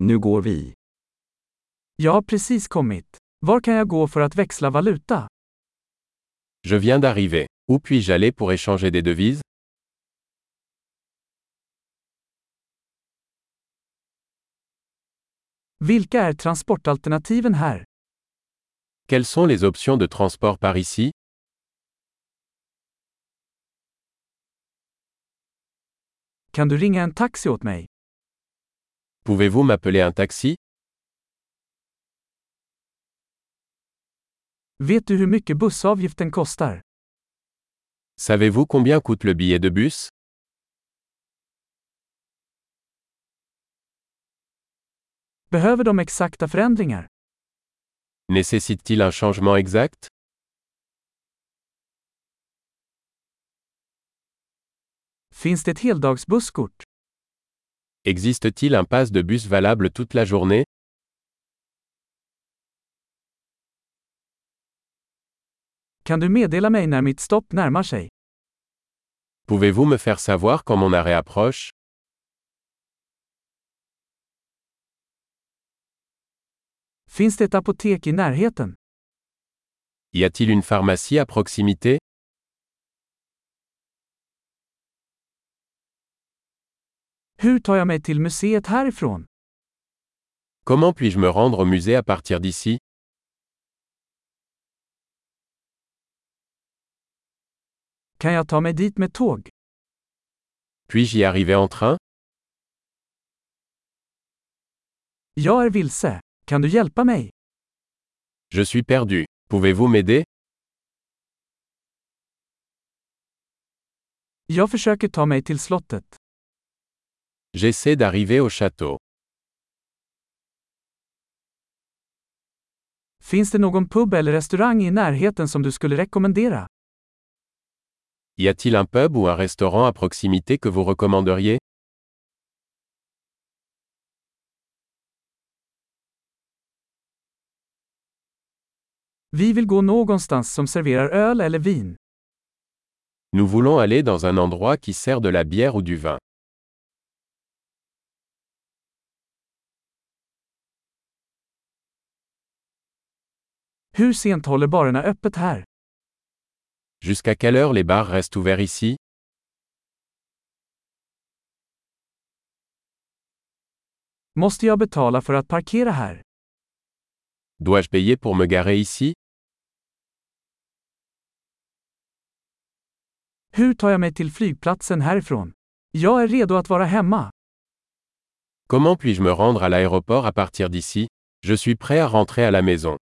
Nu går vi. Jag har precis kommit. Var kan jag gå för att växla valuta? Je viens d'arriver. Où puis-je aller pour échanger des devises Vilka är transportalternativen här? Quelles sont les options de transport par ici Kan du ringa en taxi åt mig? Pouvez-vous m'appeler un taxi Vet du hur mycket bussavgiften kostar? Savez-vous combien coûte le billet de bus Behöver de exakta förändringar? Nécessite-t-il un changement exact Finns det ett heldagsbusskort? Existe-t-il un pass de bus valable toute la journée Kan du meddela mig när mitt stopp närmar sig? Pouvez-vous me faire savoir quand mon arrêt approche Finns det ett apotek i närheten? Y a-t-il une pharmacie à proximité Hur tar jag mig till museet härifrån? Comment puis-je me rendre au musée à partir d'ici Kan jag ta mig dit med tåg? Puis-je y arriver en train Jag är vilse. Kan du hjälpa mig? Je suis perdu. Pouvez-vous m'aider Jag försöker ta mig till slottet. J'essaie d'arriver au château. Finns det någon pub eller restaurang i närheten som du skulle rekommendera? Y a-t-il un pub ou un restaurant à proximité que vous recommanderiez Vi vill gå någonstans som serverar öl eller vin. Nous voulons aller dans un endroit qui sert de la bière ou du vin. Hur sent håller barerna öppet här? Jusqu'à quelle heure les bars restent ouverts ici Måste jag betala för att parkera här? Dois-je payer pour me garer ici Hur tar jag mig till flygplatsen härifrån? Jag är redo att vara hemma. Comment puis-je me rendre à l'aéroport à partir d'ici Je suis prêt à rentrer à la maison.